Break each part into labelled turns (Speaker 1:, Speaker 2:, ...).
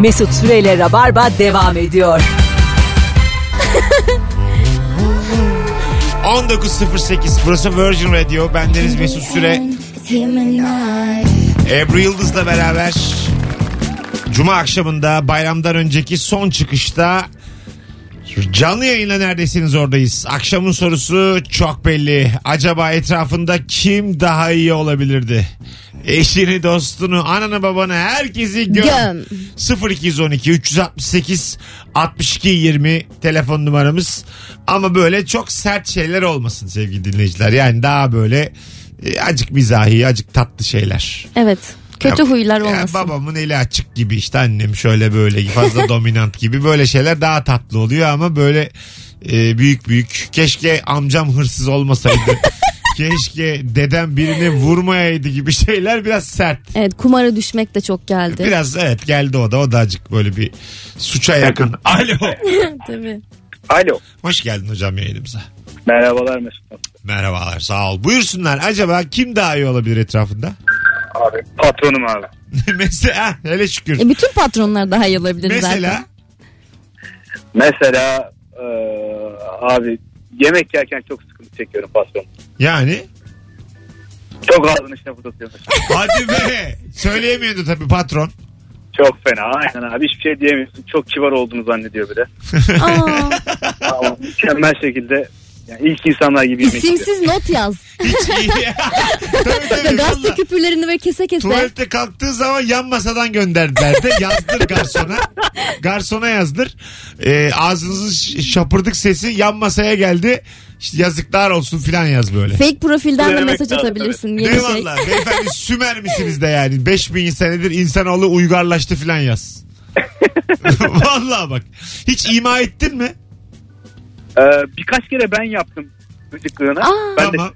Speaker 1: Mesut Süreyle Rabarba devam ediyor.
Speaker 2: 19.08 burası Virgin Radio. Bendeniz Mesut Süre. Ebru Yıldız'la beraber Cuma akşamında bayramdan önceki son çıkışta canlı yayınla neredesiniz oradayız. Akşamın sorusu çok belli. Acaba etrafında kim daha iyi olabilirdi? Eşini, dostunu, ananı, babanı, herkesi göm.
Speaker 3: Göm.
Speaker 2: 0212 368 62 20 telefon numaramız. Ama böyle çok sert şeyler olmasın sevgili dinleyiciler. Yani daha böyle e, acık mizahi, acık tatlı şeyler.
Speaker 3: Evet. Kötü
Speaker 2: Ya-
Speaker 3: huylar
Speaker 2: ya
Speaker 3: Şey olmasın.
Speaker 2: babamın eli açık gibi işte annem şöyle böyle fazla dominant gibi böyle şeyler daha tatlı oluyor ama böyle e, büyük büyük keşke amcam hırsız olmasaydı. keşke dedem birini vurmayaydı gibi şeyler biraz sert.
Speaker 3: Evet kumara düşmek de çok geldi.
Speaker 2: Biraz evet geldi o da o da acık böyle bir suça yakın. Alo.
Speaker 3: Tabii.
Speaker 4: Alo.
Speaker 2: Hoş geldin hocam yayınımıza.
Speaker 4: Merhabalar Mesut.
Speaker 2: Merhabalar sağ ol. Buyursunlar acaba kim daha iyi olabilir etrafında?
Speaker 4: Abi patronum abi.
Speaker 2: Mesela hele şükür.
Speaker 3: E, bütün patronlar daha iyi olabilir
Speaker 2: Mesela
Speaker 3: zaten.
Speaker 4: Mesela e, abi yemek yerken çok sıkıntı çekiyorum patron.
Speaker 2: yani
Speaker 4: Çok ağzını içine fırlatıyor. mesela.
Speaker 2: Hadi be. Söyleyemiyordu tabii patron.
Speaker 4: çok fena aynen abi hiçbir şey diyemiyorsun. Çok kibar olduğunu zannediyor bir de.
Speaker 3: Aa,
Speaker 4: Ama mükemmel şekilde yani ilk insanlar gibi yemek yiyor.
Speaker 3: isimsiz not yaz.
Speaker 2: Hiç iyi. tabii tabii.
Speaker 3: Gazete
Speaker 2: valla.
Speaker 3: küpürlerini ve kese kese.
Speaker 2: Tuvalette kalktığı zaman yan masadan gönderdiler de yazdır garsona. Garsona yazdır. Ee, ağzınızın ş- şapırdık sesi yan masaya geldi. İşte yazıklar olsun filan yaz böyle.
Speaker 3: Fake profilden de
Speaker 4: Söylemek
Speaker 3: mesaj
Speaker 4: lazım,
Speaker 3: atabilirsin. Yeni
Speaker 2: Ne
Speaker 3: şey.
Speaker 2: valla beyefendi Sümer misiniz de yani 5000 senedir insanoğlu uygarlaştı filan yaz. Vallahi bak hiç ima ettin mi?
Speaker 4: E, birkaç kere ben yaptım gıcıklığına.
Speaker 3: Aa.
Speaker 4: Ben
Speaker 2: Tamam.
Speaker 4: de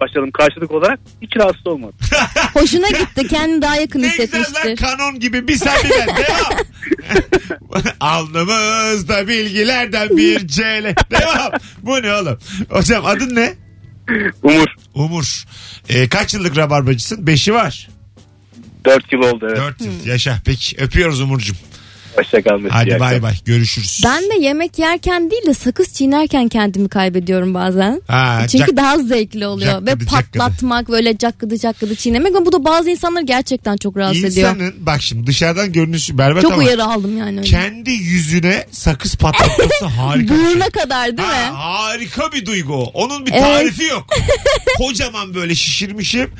Speaker 4: başladım karşılık olarak hiç rahatsız olmadı.
Speaker 3: Hoşuna gitti. Kendini daha yakın
Speaker 2: Ne güzel lan
Speaker 3: hissetmiştir.
Speaker 2: kanon gibi bir sen bir ben. Devam. Alnımızda bilgilerden bir cele. Devam. Bu ne oğlum? Hocam adın ne?
Speaker 4: Umur
Speaker 2: Umur. Ee, kaç yıllık rabarbacısın? Beşi var.
Speaker 4: 4 yıl oldu evet.
Speaker 2: Dört yıl. Yaşa. Peki öpüyoruz Umur'cum.
Speaker 4: Hoşçakal Mesut.
Speaker 2: Hadi
Speaker 4: iyi
Speaker 2: bay bay. Görüşürüz.
Speaker 3: Ben de yemek yerken değil de sakız çiğnerken kendimi kaybediyorum bazen.
Speaker 2: Ha,
Speaker 3: Çünkü
Speaker 2: Jack-
Speaker 3: daha zevkli oluyor ve
Speaker 2: Cakkıdı, cakkıdı.
Speaker 3: patlatmak böyle cakkıdı cakkıdı çiğnemek ama bu da bazı insanları gerçekten çok rahatsız ediyor.
Speaker 2: İnsanın bak şimdi dışarıdan görünüşü berbat
Speaker 3: Çok
Speaker 2: ama
Speaker 3: uyarı aldım yani öyle.
Speaker 2: kendi yüzüne sakız patlatması harika. bir şey.
Speaker 3: Buruna kadar değil
Speaker 2: Ha,
Speaker 3: mi?
Speaker 2: harika bir duygu. o. Onun bir
Speaker 3: Evet.
Speaker 2: tarifi yok. Kocaman böyle şişirmişim.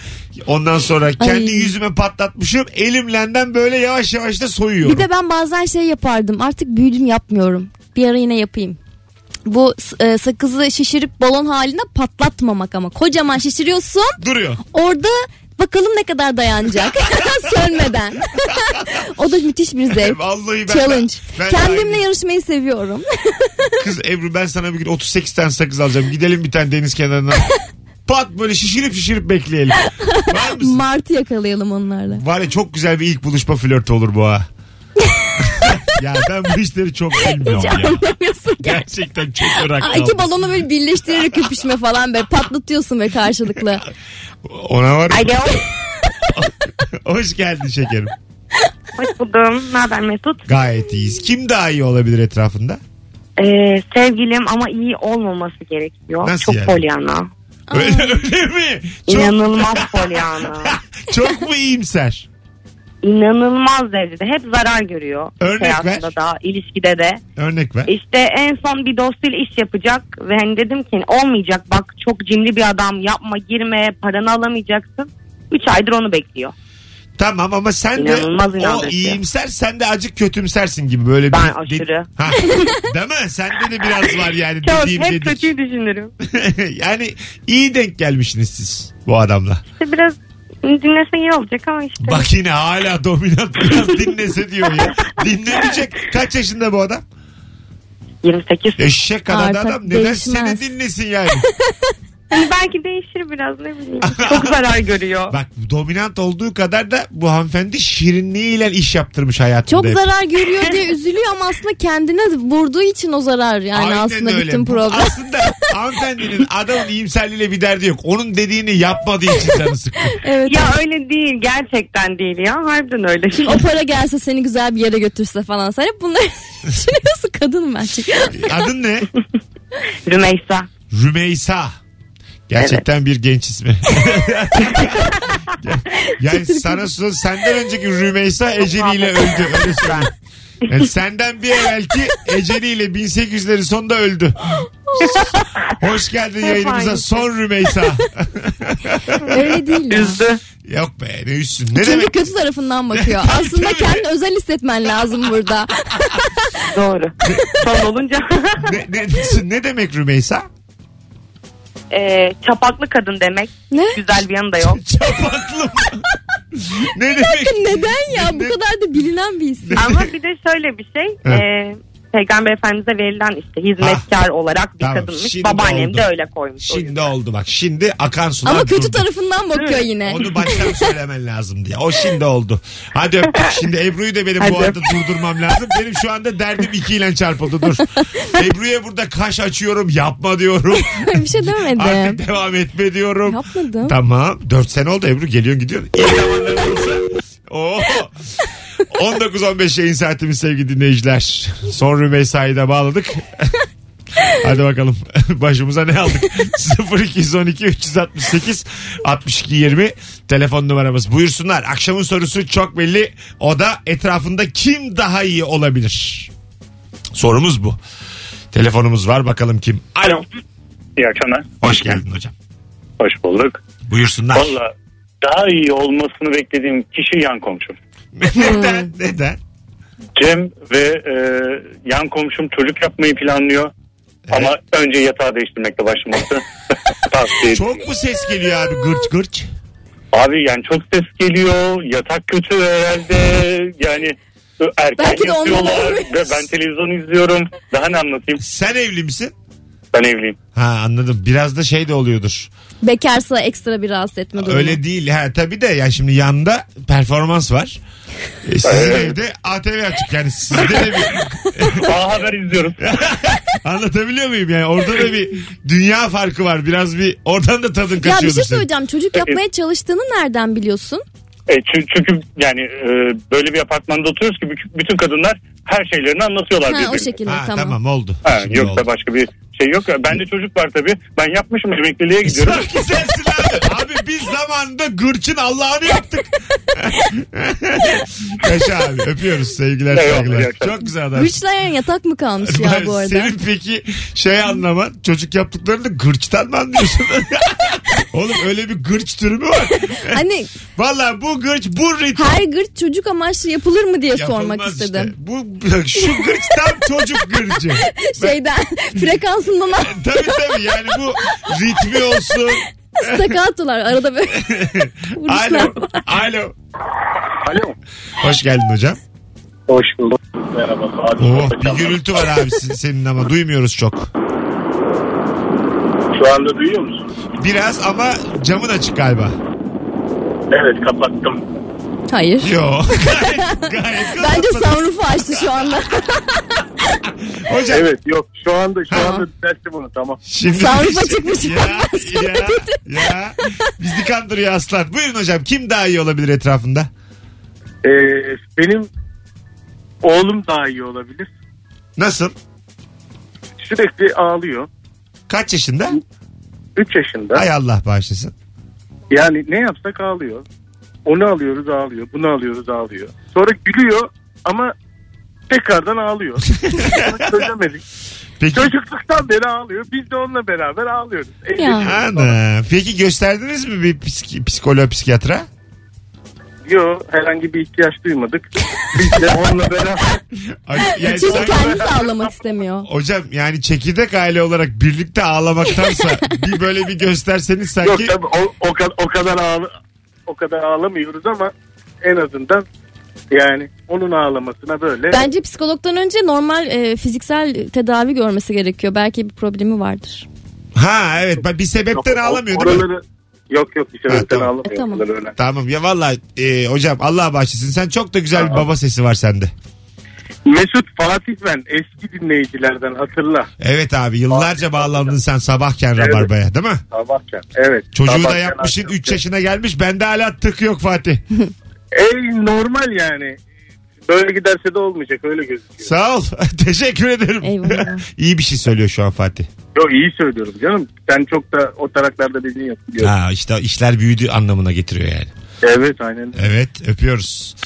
Speaker 2: Ondan sonra kendi
Speaker 3: Ay.
Speaker 2: yüzüme patlatmışım. Elimlenden böyle yavaş yavaş da soyuyorum.
Speaker 3: Bir de ben bazen şey yapardım. Artık büyüdüm yapmıyorum. Bir ara yine yapayım. Bu e, sakızı şişirip balon haline patlatmamak ama. Kocaman şişiriyorsun.
Speaker 2: Duruyor.
Speaker 3: Orada bakalım ne kadar dayanacak. Sönmeden. o da müthiş bir zevk.
Speaker 2: E, Vallahi ben
Speaker 3: Challenge.
Speaker 2: ben-
Speaker 3: Kendimle
Speaker 2: aynı.
Speaker 3: yarışmayı seviyorum.
Speaker 2: Kız Ebru ben sana bir gün 38 tane sakız alacağım. Gidelim bir tane deniz kenarına. Pat böyle şişirip şişirip bekleyelim. Var mısın?
Speaker 3: Martı yakalayalım onlarla.
Speaker 2: Var ya çok güzel bir ilk buluşma flörtü olur bu ha. ya ben bu işleri çok bilmiyorum
Speaker 3: Hiç
Speaker 2: ya.
Speaker 3: anlamıyorsun gerçekten.
Speaker 2: Gerçekten çok merak
Speaker 3: Aa, iki balonu böyle birleştirerek öpüşme falan be. Patlatıyorsun ve karşılıklı.
Speaker 2: Ona var. ya.
Speaker 5: Alo.
Speaker 2: Hoş geldin şekerim.
Speaker 5: Hoş buldum. Ne haber Mesut?
Speaker 2: Gayet iyiyiz. Kim daha iyi olabilir etrafında?
Speaker 5: Ee, sevgilim ama iyi olmaması gerekiyor.
Speaker 2: Nasıl
Speaker 5: Çok
Speaker 2: yani?
Speaker 5: polyana.
Speaker 2: Öyle, öyle mi? Çok,
Speaker 5: İnanılmaz polyana.
Speaker 2: çok mu iyimser?
Speaker 5: İnanılmaz derecede. Hep zarar görüyor.
Speaker 2: Örnek ver.
Speaker 5: Hayatında da, ilişkide de.
Speaker 2: Örnek ver.
Speaker 5: İşte en son bir dostuyla iş yapacak ve hani dedim ki olmayacak bak çok cimri bir adam yapma girme paranı alamayacaksın. 3 aydır onu bekliyor.
Speaker 2: Tamam ama sen de
Speaker 5: İnanılmaz
Speaker 2: o
Speaker 5: inandırıcı.
Speaker 2: iyimser sen de acık kötümsersin gibi böyle bir.
Speaker 5: Ben aşırı.
Speaker 2: Ha, değil mi? Sende de biraz var yani
Speaker 5: Çok
Speaker 2: dediğim
Speaker 5: hep
Speaker 2: dedik.
Speaker 5: kötüyü düşünürüm.
Speaker 2: yani iyi denk gelmişsiniz siz bu adamla.
Speaker 5: İşte biraz dinlese iyi olacak ama işte.
Speaker 2: Bak yine hala dominant biraz dinlese diyor ya. Dinlemeyecek. Kaç yaşında bu adam?
Speaker 5: 28.
Speaker 2: Eşek kadar da
Speaker 3: Artık
Speaker 2: adam. Neden
Speaker 3: değişmez.
Speaker 2: seni dinlesin yani?
Speaker 5: Hani belki değişir biraz ne bileyim. Çok zarar görüyor.
Speaker 2: Bak dominant olduğu kadar da bu hanımefendi şirinliğiyle iş yaptırmış hayatında.
Speaker 3: Çok
Speaker 2: hep.
Speaker 3: zarar görüyor diye üzülüyor ama aslında kendine vurduğu için o zarar yani
Speaker 2: Aynen
Speaker 3: aslında
Speaker 2: öyle. Ah!
Speaker 3: bütün problem.
Speaker 2: Aslında hanımefendinin adamın iyimserliğiyle bir derdi yok. Onun dediğini yapmadığı için canı sıkkın.
Speaker 3: evet.
Speaker 5: Ya öyle değil gerçekten değil ya harbiden öyle.
Speaker 3: O para gelse seni güzel bir yere götürse falan. Sen hep bunları düşünüyorsun kadın ben çünkü.
Speaker 2: Adın ne?
Speaker 5: Rümeysa.
Speaker 2: Rümeysa. Gerçekten bir genç ismi. yani sana söz senden önceki Rümeysa eceliyle öldü. Öyle söyleyeyim. Yani senden bir evvelki eceliyle 1800'lerin sonunda öldü. Hoş geldin yayınımıza
Speaker 5: aynı
Speaker 2: son Rümeysa.
Speaker 3: Öyle değil. ya.
Speaker 5: Üzdü.
Speaker 2: Yok be ne üstsün. Ne
Speaker 3: Çünkü
Speaker 2: demek?
Speaker 3: kötü tarafından bakıyor. Aslında kendini özel hissetmen lazım burada.
Speaker 5: Doğru. Son olunca.
Speaker 2: Ne, ne, ne demek Rümeysa?
Speaker 5: Ee, çapaklı kadın demek.
Speaker 3: Ne?
Speaker 5: Güzel bir yanı da yok.
Speaker 2: Çapaklı mı? ne demek?
Speaker 3: Neden ya? Bu kadar da bilinen bir isim.
Speaker 5: Ama bir de şöyle bir şey. ee, Peygamber Efendimize verilen işte hizmetkar olarak bir
Speaker 2: Ah. Tamam,
Speaker 5: kadınmış.
Speaker 2: şimdi
Speaker 5: Babaannem
Speaker 2: oldu.
Speaker 5: de öyle koymuş. o
Speaker 2: Şimdi oldu bak. Şimdi akan sular
Speaker 3: Ama kötü
Speaker 2: durdu.
Speaker 3: tarafından bakıyor yine.
Speaker 2: Onu baştan söylemen lazım diye. O şimdi oldu. Hadi öptük. Şimdi Ebru'yu da benim bu
Speaker 5: Hadi
Speaker 2: arada durdurmam lazım. Benim şu anda derdim ikiyle çarpıldı. Dur. Ebru'ya burada kaş açıyorum. Yapma diyorum.
Speaker 3: bir şey demedim.
Speaker 2: Artık devam etme diyorum.
Speaker 3: Yapmadım.
Speaker 2: Tamam. 4 sene oldu Ebru. Geliyorsun gidiyorsun. İyi zamanlar olsa. Oo. 19-15 yayın saatimiz sevgili dinleyiciler. Son Rümeysa'yı da bağladık. Hadi bakalım başımıza ne aldık? 0212 368 62 20 telefon numaramız. Buyursunlar. Akşamın sorusu çok belli. O da etrafında kim daha iyi olabilir? Sorumuz bu. Telefonumuz var bakalım kim?
Speaker 4: Alo. İyi akşamlar.
Speaker 2: Hoş geldin hocam.
Speaker 4: Hoş bulduk.
Speaker 2: Buyursunlar.
Speaker 4: Valla daha iyi olmasını beklediğim kişi yan komşum.
Speaker 3: Hmm.
Speaker 2: Neden? Neden?
Speaker 4: Cem ve e, yan komşum çocuk yapmayı planlıyor. Ama önce yatağı değiştirmekle başlaması tavsiye ederim.
Speaker 2: Çok mu ses geliyor abi gırç gırç?
Speaker 4: Abi yani çok ses geliyor. Yatak kötü herhalde. Yani ö, erken
Speaker 3: Belki de ondan
Speaker 4: yatıyorlar.
Speaker 3: olabilir.
Speaker 4: Ve ben televizyon izliyorum. Daha ne anlatayım?
Speaker 2: Sen evli misin?
Speaker 4: Ben evliyim.
Speaker 2: Ha anladım. Biraz da şey de oluyordur.
Speaker 3: Bekarsa ekstra bir rahatsız etme durumu.
Speaker 2: Öyle değil. Ha tabii de ya şimdi yanda performans var. E, sizin
Speaker 4: Evet.
Speaker 2: evde ATV açık yani sizde de bir
Speaker 4: Daha haber izliyoruz.
Speaker 2: anlatabiliyor muyum yani orada da bir dünya farkı var biraz bir oradan da tadın
Speaker 3: Ya
Speaker 2: kaçıyordur.
Speaker 3: bir şey
Speaker 2: senin.
Speaker 3: söyleyeceğim. Çocuk yapmaya çalıştığını nereden biliyorsun?
Speaker 4: E, çü- çünkü yani e, böyle bir apartmanda oturuyoruz ki bütün- bütün kadınlar her şeylerini anlatıyorlar
Speaker 3: Ha, o
Speaker 4: birbirine.
Speaker 3: şekilde
Speaker 2: Ha, tamam.
Speaker 3: tamam.
Speaker 2: oldu.
Speaker 4: Ha,
Speaker 2: Şimdi
Speaker 4: yok da
Speaker 2: oldu.
Speaker 4: başka bir şey yok. ya. Bende çocuk var tabii. Ben yapmışım emekliliğe gidiyorum.
Speaker 2: Sanki sensin abi. Abi biz zamanında gırçın Allah'ını yaptık. Yaşa abi öpüyoruz sevgiler
Speaker 4: Eyvallah, iyi
Speaker 2: saygılar.
Speaker 4: akşamlar.
Speaker 2: Çok güzel adam.
Speaker 3: Güçleyen yatak mı kalmış ya bu arada?
Speaker 2: Senin peki şey anlaman çocuk yaptıklarını gırçtan mı anlıyorsun? Oğlum öyle bir gırç türü mü var?
Speaker 3: Hani
Speaker 2: Valla bu gırç bu ritim.
Speaker 3: her gırt çocuk amaçlı yapılır mı diye sormak
Speaker 2: Yapılmaz
Speaker 3: istedim.
Speaker 2: Işte. Bu, şu gırç tam çocuk gırcı.
Speaker 3: Şeyden frekansından
Speaker 2: Tabii tabii yani bu ritmi olsun.
Speaker 3: stakatolar arada böyle vuruşlar
Speaker 2: Alo.
Speaker 3: var.
Speaker 2: Alo.
Speaker 4: Alo.
Speaker 2: Hoş geldin hocam.
Speaker 4: Hoş bulduk. Merhaba.
Speaker 2: Oh bir gürültü var abi sin- senin ama duymuyoruz çok.
Speaker 4: Şu anda duyuyor musun?
Speaker 2: Biraz ama camın açık galiba.
Speaker 4: Evet kapattım.
Speaker 3: Hayır.
Speaker 2: Yo. Gayet, gayet
Speaker 3: Bence
Speaker 2: kapatmadın.
Speaker 3: sunroofu açtı şu anda.
Speaker 2: Hocam
Speaker 4: Evet yok şu anda şu
Speaker 3: Tamam.
Speaker 4: anda düzeltti bunu tamam.
Speaker 2: Şimdi
Speaker 3: Sarpa çıkmış.
Speaker 2: Ya, ya, ya. Bizi kandırıyor aslan. Buyurun hocam kim daha iyi olabilir etrafında?
Speaker 4: Ee, benim oğlum daha iyi olabilir.
Speaker 2: Nasıl?
Speaker 4: Sürekli ağlıyor.
Speaker 2: Kaç yaşında?
Speaker 4: 3 yaşında.
Speaker 2: Hay Allah bağışlasın.
Speaker 4: Yani ne yapsak ağlıyor. Onu alıyoruz ağlıyor. Bunu alıyoruz ağlıyor. Sonra gülüyor ama tekrardan ağlıyor. Bunu Çözemedik.
Speaker 2: Peki,
Speaker 4: Çocukluktan beri ağlıyor. Biz de onunla beraber ağlıyoruz. E,
Speaker 3: ya.
Speaker 2: Ana. Peki gösterdiniz mi bir psik- psikoloğa, psikiyatra?
Speaker 4: Yo herhangi bir ihtiyaç duymadık. Biz de onunla beraber.
Speaker 2: Ay, yani
Speaker 3: Çocuk
Speaker 2: sanki-
Speaker 3: kendisi ağlamak istemiyor.
Speaker 2: Hocam yani çekirdek aile olarak birlikte ağlamaktansa bir böyle bir gösterseniz
Speaker 4: Yok
Speaker 2: sanki
Speaker 4: tabii o, o, kadar, o kadar ağla, o kadar ağlamıyoruz ama en azından yani onun ağlamasına böyle.
Speaker 3: Bence psikologdan önce normal e, fiziksel tedavi görmesi gerekiyor. Belki bir problemi vardır.
Speaker 2: Ha evet ben bir sebepten ağlamıyor değil mi?
Speaker 4: oraları... Yok yok bir
Speaker 2: Ha,
Speaker 4: sebepten
Speaker 2: tamam.
Speaker 4: ağlamıyor.
Speaker 3: E, tamam.
Speaker 4: Oraları öyle.
Speaker 2: Tamam ya valla e, hocam Allah bağışlasın sen çok da güzel bir baba sesi var sende.
Speaker 4: Mesut Fatih ben eski dinleyicilerden hatırla.
Speaker 2: Evet abi yıllarca bağlandın sen sabahken
Speaker 4: Evet.
Speaker 2: rabarbaya değil mi?
Speaker 4: Sabahken. Evet.
Speaker 2: Çocuğu
Speaker 4: sabahken
Speaker 2: da yapmışsın
Speaker 4: akşam.
Speaker 2: 3 yaşına gelmiş bende hala tık yok Fatih.
Speaker 4: Ey normal yani. Böyle giderse de olmayacak öyle gözüküyor.
Speaker 2: Sağ ol teşekkür ederim.
Speaker 3: Eyvallah.
Speaker 2: İyi bir şey söylüyor şu an Fatih.
Speaker 4: Yok iyi söylüyorum canım. Sen çok da o taraklarda dediğin yapıyorsun.
Speaker 2: Ha işte işler büyüdü anlamına getiriyor yani.
Speaker 4: Evet aynen.
Speaker 2: Evet öpüyoruz.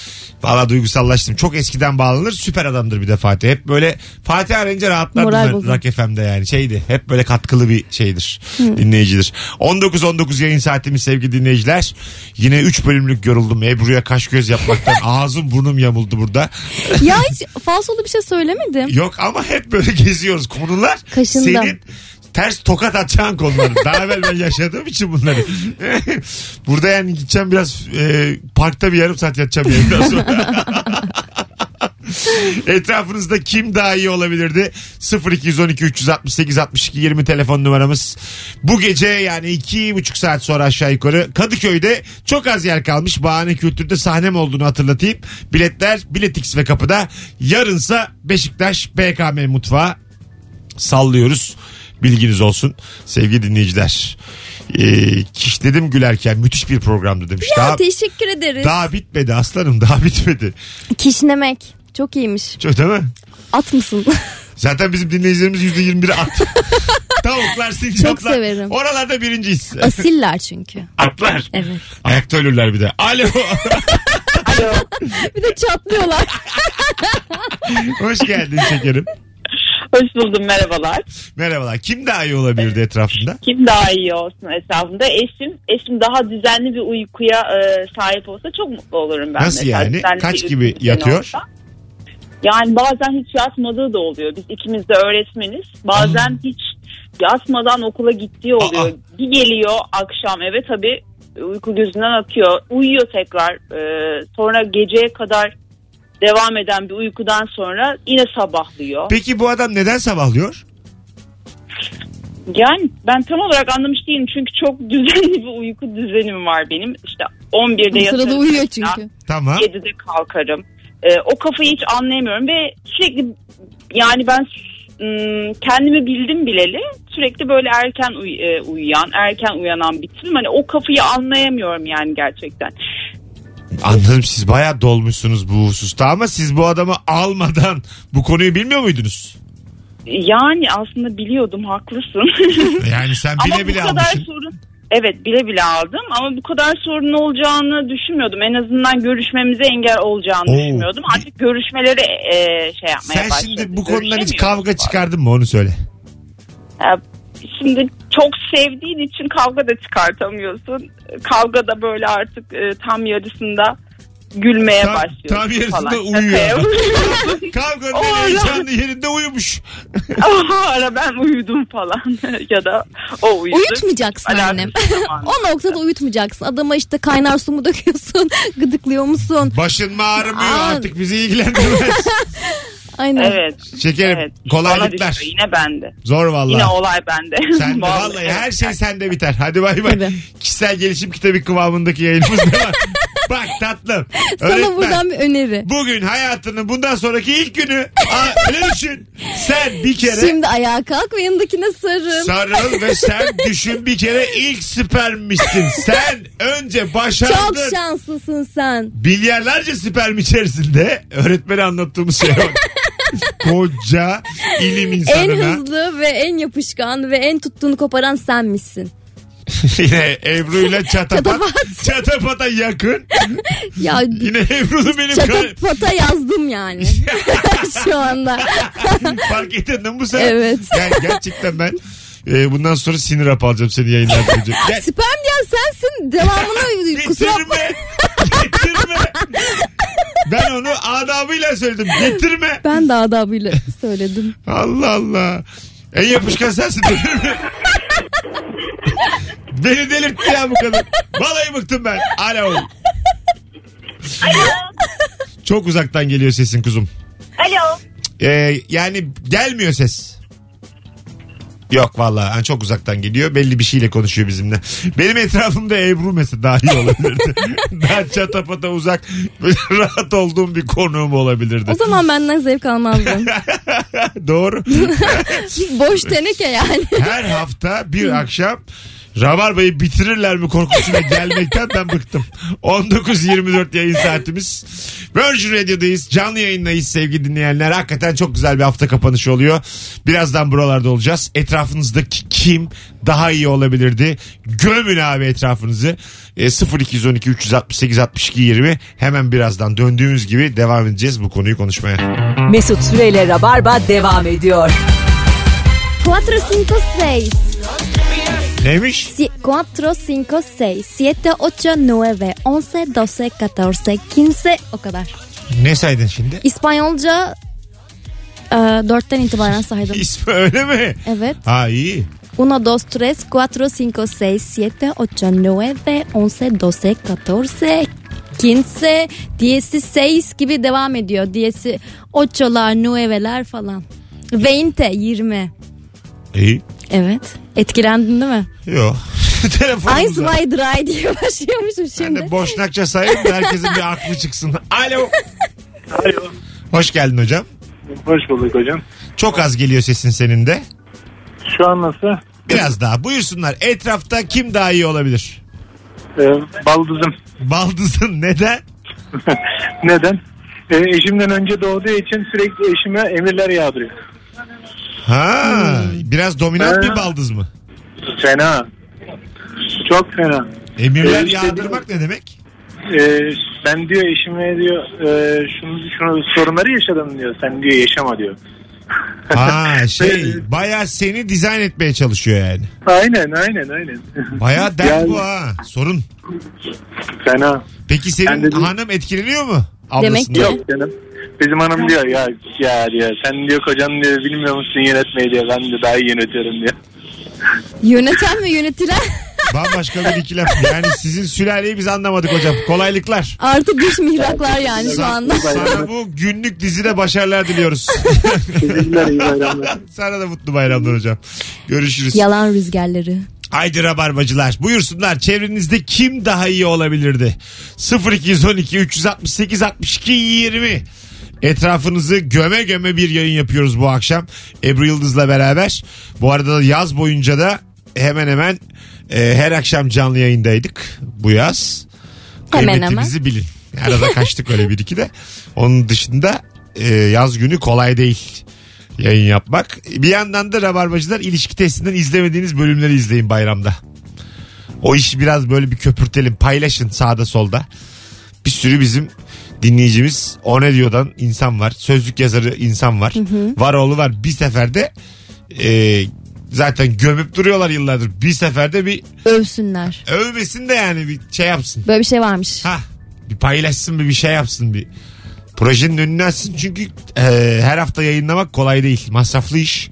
Speaker 2: Valla duygusallaştım. Çok eskiden bağlanır süper adamdır bir de Fatih. Hep böyle Fatih arayınca rahatlardı
Speaker 3: Moral
Speaker 2: ben
Speaker 3: bozan.
Speaker 2: Rock FM'de yani şeydi. Hep böyle katkılı bir şeydir dinleyicidir. 19-19 yayın saatimiz sevgili dinleyiciler. Yine 3 bölümlük yoruldum. Ebru'ya kaş göz yapmaktan ağzım burnum yamuldu burada.
Speaker 3: ya hiç falsolu bir şey söylemedim.
Speaker 2: Yok ama hep böyle geziyoruz. Konular
Speaker 3: Kaşındım.
Speaker 2: senin ters tokat atacağın konular. Daha evvel ben yaşadığım için bunları. Burada yani gideceğim biraz e, parkta bir yarım saat yatacağım yayından sonra. Etrafınızda kim daha iyi olabilirdi? 0212 368 62 20 telefon numaramız. Bu gece yani iki buçuk saat sonra aşağı yukarı Kadıköy'de çok az yer kalmış. Bahane Kültür'de sahnem olduğunu hatırlatayım. Biletler Biletix ve kapıda. Yarınsa Beşiktaş BKM Mutfağı sallıyoruz. Bilginiz olsun sevgili dinleyiciler. Ee, kişledim gülerken müthiş bir programdı demiş.
Speaker 3: Ya
Speaker 2: daha,
Speaker 3: teşekkür ederiz.
Speaker 2: daha bitmedi aslanım daha bitmedi.
Speaker 3: Kişnemek. Çok iyiymiş.
Speaker 2: Çok değil mi?
Speaker 3: At mısın?
Speaker 2: Zaten bizim dinleyicilerimiz %21'i at. Tavuklar, sincaplar.
Speaker 3: Çok severim.
Speaker 2: Oralarda birinciyiz.
Speaker 3: Asiller çünkü.
Speaker 2: Atlar.
Speaker 3: Evet.
Speaker 2: Ayakta ölürler bir de. Alo.
Speaker 3: Bir de çatlıyorlar.
Speaker 2: Hoş geldin şekerim.
Speaker 6: Hoş buldum merhabalar.
Speaker 2: Merhabalar. Kim daha iyi olabilirdi etrafında?
Speaker 6: Kim daha iyi olsun etrafında? Eşim eşim daha düzenli bir uykuya e, sahip olsa çok mutlu olurum ben.
Speaker 2: Nasıl yani?
Speaker 6: düzenli
Speaker 2: Kaç
Speaker 6: bir
Speaker 2: gibi
Speaker 6: uyku düzeni
Speaker 2: yatıyor?
Speaker 6: olsa. Yani bazen hiç yatmadığı da oluyor. Biz ikimiz de öğretmeniz. Bazen hiç yatmadan okula gittiği oluyor. Bir geliyor akşam eve tabii uyku gözünden akıyor. Uyuyor tekrar. E, sonra geceye kadar devam eden bir uykudan sonra yine sabahlıyor.
Speaker 2: Peki bu adam neden sabahlıyor?
Speaker 6: Yani ben tam olarak anlamış değilim çünkü çok düzenli bir uyku düzenim var benim. İşte 11'de
Speaker 3: Bu sırada
Speaker 6: yatarım,
Speaker 3: uyuyor çünkü.
Speaker 2: Tamam.
Speaker 6: 7'de kalkarım. Ee, o kafayı hiç anlayamıyorum ve sürekli yani ben ım, kendimi bildim bileli sürekli böyle erken uy- e, uyuyan, erken uyanan bir tipim. Hani o kafayı anlayamıyorum yani gerçekten.
Speaker 2: Anladım siz bayağı dolmuşsunuz bu hususta ama siz bu adamı almadan bu konuyu bilmiyor muydunuz?
Speaker 6: Yani aslında biliyordum haklısın.
Speaker 2: Yani sen
Speaker 6: Ama
Speaker 2: bile
Speaker 6: bu
Speaker 2: bile
Speaker 6: kadar şey
Speaker 2: almışsın.
Speaker 6: sorun Evet bile bile aldım ama bu kadar sorun olacağını düşünmüyordum. En azından görüşmemize engel olacağını
Speaker 2: Oo.
Speaker 6: düşünmüyordum. Artık görüşmeleri e, şey yapmaya
Speaker 2: Sen
Speaker 6: başladım.
Speaker 2: şimdi bu konudan hiç
Speaker 6: Görüşemiyoruz
Speaker 2: kavga
Speaker 6: falan.
Speaker 2: çıkardın mı onu söyle.
Speaker 6: Ya, Şimdi çok sevdiğin için kavga da çıkartamıyorsun. Kavga da böyle artık e, tam yarısında gülmeye
Speaker 2: Tam-
Speaker 6: başlıyorsun
Speaker 2: tam yarısında
Speaker 6: falan.
Speaker 2: uyuyor.
Speaker 6: Şakaya vuruyorsun.
Speaker 2: Kavganın
Speaker 6: Oo,
Speaker 2: en
Speaker 6: ya.
Speaker 2: heyecanlı yerinde uyumuş.
Speaker 6: Aha, ara ben uyudum falan ya da o uyudu.
Speaker 3: Uyutmayacaksın annem.
Speaker 6: Alarm zamanı.
Speaker 3: O noktada uyutmayacaksın. Adama işte kaynar su mu döküyorsun? Gıdıklıyor musun?
Speaker 2: Başın mı ağrımıyor
Speaker 3: Aa.
Speaker 2: artık bizi ilgilendirmez.
Speaker 3: Aynen.
Speaker 6: Evet.
Speaker 2: Şekerim
Speaker 6: Evet. Bana
Speaker 2: kolaylıklar.
Speaker 6: düşüyor. Yine bende.
Speaker 2: Zor valla.
Speaker 6: Yine olay bende.
Speaker 2: Sen de vallahi her şey sende biter. Hadi bay bay.
Speaker 3: Tabii.
Speaker 2: Kişisel gelişim kitabı kıvamındaki yayınımız devam. Bak tatlım.
Speaker 3: Sana
Speaker 2: öğretmen,
Speaker 3: buradan bir öneri.
Speaker 2: Bugün hayatının bundan sonraki ilk günü. Aa, öyle düşün. Sen bir kere
Speaker 3: Şimdi ayağa kalk ve yanındakine sarıl.
Speaker 2: sarıl ve sen düşün bir kere ilk süpermişsin. Sen önce
Speaker 3: Çok
Speaker 2: başardın.
Speaker 3: şanslısın sen.
Speaker 2: Milyarlarca sperm içerisinde öğretmeni anlattığımız şey bak. Koca ilim
Speaker 3: En
Speaker 2: insanına.
Speaker 3: hızlı ve en yapışkan ve en tuttuğunu koparan sen misin?
Speaker 2: Yine Ebru ile çatapat.
Speaker 3: Çatapat.
Speaker 2: Çatapata yakın.
Speaker 3: Ya
Speaker 2: Yine Ebru'nun benim kar-
Speaker 3: çatapata yazdım yani. Şu anda.
Speaker 2: Fark ettin mi bu sefer?
Speaker 3: Evet.
Speaker 2: Yani gerçekten ben e, bundan sonra sinir hap alacağım seni yayınlarda. önce. Gel.
Speaker 3: Sperm diyen sensin. Devamını kusura bakma.
Speaker 2: Getirme. Getirme. Ben onu adabıyla söyledim. Getirme.
Speaker 3: Ben de adabıyla söyledim.
Speaker 2: Allah Allah. En yapışkan sensin. delirme. Beni delirtti ya bu kadın. Vallahi bıktım ben. Alo. Çok uzaktan geliyor sesin kuzum.
Speaker 7: Alo.
Speaker 2: Ee, yani gelmiyor ses. Yok vallahi yani çok uzaktan geliyor. Belli bir şeyle konuşuyor bizimle. Benim etrafımda Ebru mesela daha iyi olabilirdi. daha çatapata uzak böyle rahat olduğum bir konuğum olabilirdi.
Speaker 3: O zaman benden zevk almazdın.
Speaker 2: Doğru.
Speaker 3: Boş teneke yani.
Speaker 2: Her hafta bir akşam Rabarba'yı bitirirler mi korkusuyla gelmekten ben bıktım. 19.24 yayın saatimiz. Virgin Radio'dayız. Canlı yayındayız sevgili dinleyenler. Hakikaten çok güzel bir hafta kapanışı oluyor. Birazdan buralarda olacağız. Etrafınızdaki kim daha iyi olabilirdi? Gömün abi etrafınızı. E, 0212 368 62 20 hemen birazdan döndüğümüz gibi devam edeceğiz bu konuyu konuşmaya.
Speaker 1: Mesut Süreyle Rabarba devam ediyor.
Speaker 3: Cuatro, cinco, seis.
Speaker 2: Neymiş?
Speaker 3: Si- 4, 5, 6, 7, 8, 9, 11, 12, 14, 15 o kadar.
Speaker 2: Ne saydın şimdi?
Speaker 3: İspanyolca e, 4'ten itibaren saydım.
Speaker 2: İsmi öyle mi?
Speaker 3: Evet.
Speaker 2: Ha iyi.
Speaker 3: 1, 2, 3, 4, 5, 6, 7, 8, 9, 11, 12, 14, 15, 16 gibi devam ediyor. Diyesi 8'lar, 9'lar falan. 20, 20.
Speaker 2: İyi.
Speaker 3: Evet. Etkilendin değil mi?
Speaker 2: Yok.
Speaker 3: Eyes
Speaker 2: Telefonumuzda.
Speaker 3: wide eye diye başlıyormuşum
Speaker 2: Ben
Speaker 3: şimdi.
Speaker 2: de boşnakça sayayım da herkesin bir aklı çıksın. Alo.
Speaker 4: Alo.
Speaker 2: Hoş geldin hocam.
Speaker 4: Hoş bulduk hocam.
Speaker 2: Çok az geliyor sesin senin de.
Speaker 4: Şu an nasıl?
Speaker 2: Biraz daha buyursunlar. Etrafta kim daha iyi olabilir?
Speaker 4: Ee, baldızım.
Speaker 2: Baldızın neden?
Speaker 4: Neden? Ee, eşimden önce doğduğu için sürekli eşime emirler yağdırıyor.
Speaker 2: Ha, biraz dominant
Speaker 4: Hmm. Ha.
Speaker 2: bir baldız mı?
Speaker 4: Fena. Çok fena.
Speaker 2: Emirler
Speaker 4: Evet,
Speaker 2: yağdırmak ne demek?
Speaker 4: Ee, ben diyor eşime diyor e, şunu, şunu sorunları yaşadım diyor. Sen diyor yaşama diyor.
Speaker 2: Ha şey
Speaker 4: Evet.
Speaker 2: baya seni dizayn etmeye çalışıyor yani.
Speaker 4: Aynen aynen aynen.
Speaker 2: Baya dert
Speaker 4: Yani-
Speaker 2: bu ha sorun.
Speaker 4: fena.
Speaker 2: Peki
Speaker 4: Ben
Speaker 2: senin
Speaker 4: dedim-
Speaker 2: hanım etkileniyor mu?
Speaker 3: Demek
Speaker 2: Ablasından?
Speaker 3: ki-
Speaker 4: Yok canım. Bizim hanım diyor ya ya diyor sen diyor kocan diyor bilmiyor musun yönetmeyi diyor ben de daha iyi yönetiyorum diyor.
Speaker 3: Yöneten ve yönetilen
Speaker 2: Bambaşka bir ikilem. Yani sizin sülaleyi biz anlamadık hocam. Kolaylıklar.
Speaker 3: artı dış mihraklar yani şu anda.
Speaker 2: Sana bu günlük dizide başarılar diliyoruz.
Speaker 4: Teşekkürler iyi bayramlar.
Speaker 2: Sana da mutlu bayramlar hocam. Görüşürüz.
Speaker 3: Yalan rüzgarları.
Speaker 2: Haydi rabarbacılar buyursunlar çevrenizde kim daha iyi olabilirdi? 0212 368 62 20 Etrafınızı göme göme bir yayın yapıyoruz bu akşam. Ebru Yıldız'la beraber. Bu arada yaz boyunca da hemen hemen e, her akşam canlı yayındaydık bu yaz.
Speaker 3: Hemen hemen.
Speaker 2: Kıymetimizi bilin. Arada kaçtık öyle bir iki de. Onun dışında e, yaz günü kolay değil yayın yapmak. Bir yandan da Rabarbacılar ilişki testinden izlemediğiniz bölümleri izleyin bayramda. O işi biraz böyle bir köpürtelim. Paylaşın sağda solda. Bir sürü bizim dinleyicimiz o ne diyordan insan var. Sözlük yazarı insan var. Var oğlu var. Bir seferde e, zaten gömüp duruyorlar yıllardır. Bir seferde bir
Speaker 3: Övsünler.
Speaker 2: övmesin de yani bir şey yapsın.
Speaker 3: Böyle bir şey varmış.
Speaker 2: Ha bir paylaşsın bir bir şey yapsın bir. Projenin önünü açsın çünkü e, her hafta yayınlamak kolay değil. Masraflı iş.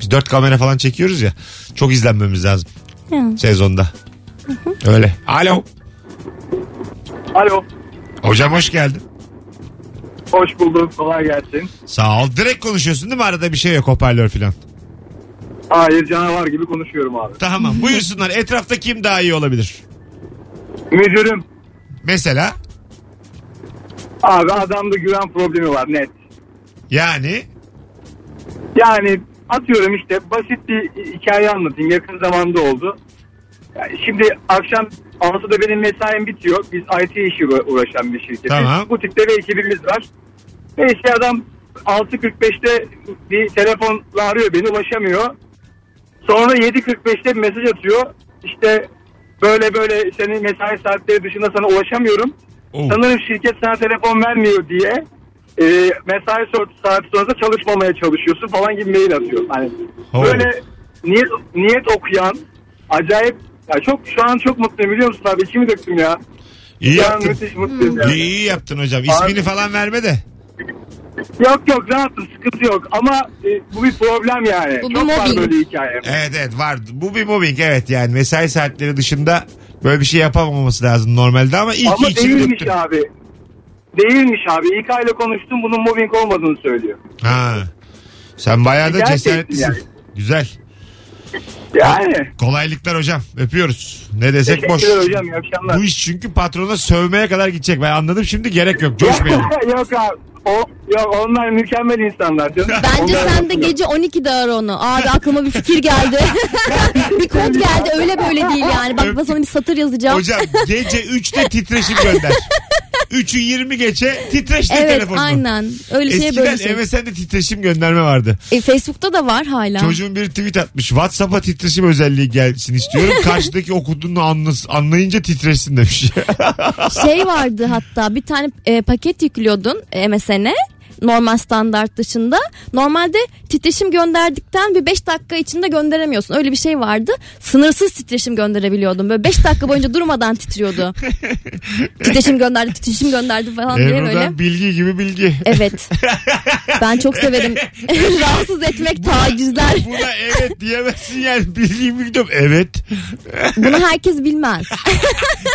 Speaker 2: Biz dört kamera falan çekiyoruz ya. Çok izlenmemiz lazım
Speaker 3: Hı.
Speaker 2: sezonda. Öyle. Alo.
Speaker 4: Alo.
Speaker 2: Hocam hoş geldin.
Speaker 4: Hoş bulduk. Kolay gelsin.
Speaker 2: Sağ ol. Direkt konuşuyorsun değil mi? Arada bir şey yok hoparlör falan.
Speaker 4: Hayır canavar gibi konuşuyorum abi.
Speaker 2: Tamam buyursunlar. Etrafta kim daha iyi olabilir?
Speaker 4: Müdürüm.
Speaker 2: Mesela
Speaker 4: Abi adamda güven problemi var net.
Speaker 2: yani
Speaker 4: Yani atıyorum işte basit bir hikaye anlatayım. Yakın zamanda oldu. Yani şimdi akşam 6'da benim mesaim bitiyor. Biz IT işi uğra- uğraşan bir şirketiz.
Speaker 2: Tamam.
Speaker 4: Butikte bir ekibimiz var. Ve işte adam 6.45'te bir telefonla arıyor beni ulaşamıyor. Sonra 7.45'te bir mesaj atıyor. İşte böyle böyle senin mesai saatleri dışında sana ulaşamıyorum.
Speaker 2: Oo.
Speaker 4: Sanırım şirket sana telefon vermiyor diye e, mesai sor- saati sonrasında çalışmamaya çalışıyorsun falan gibi mail atıyor. Hani
Speaker 2: Oo.
Speaker 4: böyle niyet, niyet okuyan acayip ya çok şu an çok mutluyum biliyor musun abi içimi döktüm ya.
Speaker 2: iyi
Speaker 4: Şu an
Speaker 2: yaptın.
Speaker 4: müthiş mutluyum ya.
Speaker 2: İyi yaptın hocam. İsmini
Speaker 4: Abi-
Speaker 2: falan verme de.
Speaker 4: Yok yok rahatım sıkıntı yok ama e, bu bir problem yani.
Speaker 3: Bu bir
Speaker 4: çok var
Speaker 3: mobbing.
Speaker 4: böyle hikaye.
Speaker 2: Evet evet var. Bu bir mobbing evet yani mesai saatleri dışında böyle bir şey yapamaması lazım normalde ama iyi
Speaker 4: Ama
Speaker 2: ki içini
Speaker 4: değilmiş
Speaker 2: döktün.
Speaker 4: abi. Değilmiş abi. İK ile konuştum bunun mobbing olmadığını söylüyor.
Speaker 2: Ha. Sen bayağı da
Speaker 4: Gerçekten
Speaker 2: cesaretlisin.
Speaker 4: yani.
Speaker 2: Güzel.
Speaker 4: Yani.
Speaker 2: Kolaylıklar hocam. Öpüyoruz. Ne desek boş.
Speaker 4: Teşekkürler hocam. iyi akşamlar.
Speaker 2: Bu iş çünkü patrona sövmeye kadar gidecek. Ben anladım şimdi gerek yok. Coşmayalım.
Speaker 4: yok abi. O, yok onlar mükemmel insanlar canım.
Speaker 3: Bence
Speaker 4: Onlar
Speaker 3: sen de
Speaker 4: mutlu.
Speaker 3: gece 12'de ara onu. Abi aklıma bir fikir geldi. bir kod geldi öyle böyle değil yani. Bak ben sana bir satır yazacağım.
Speaker 2: Hocam gece 3'te titreşim gönder. 3'ü 20 geçe titreştir
Speaker 3: evet
Speaker 2: telefonunu.
Speaker 3: aynen. Öyle şey
Speaker 2: Eskiden
Speaker 3: böyle şey.
Speaker 2: MSN'de titreşim gönderme vardı.
Speaker 3: E, Facebook'ta da var hala.
Speaker 2: Çocuğun bir tweet atmış. WhatsApp'a titreşim özelliği gelsin istiyorum. Karşıdaki okuduğunu anlas- anlayınca titreşsin demiş.
Speaker 3: Şey vardı hatta bir tane e, paket yüklüyordun e, MSN'e normal standart dışında. Normalde titreşim gönderdikten bir 5 dakika içinde gönderemiyorsun. Öyle bir şey vardı. Sınırsız titreşim gönderebiliyordun. Böyle 5 dakika boyunca durmadan titriyordu. titreşim gönderdi, titreşim gönderdi falan diye böyle.
Speaker 2: Ebru'dan bilgi gibi bilgi.
Speaker 3: Evet. Ben çok severim. Rahatsız etmek, tacizler.
Speaker 2: Buna evet diyemezsin yani bilgi mi gidiyorum? Evet.
Speaker 3: Bunu herkes bilmez.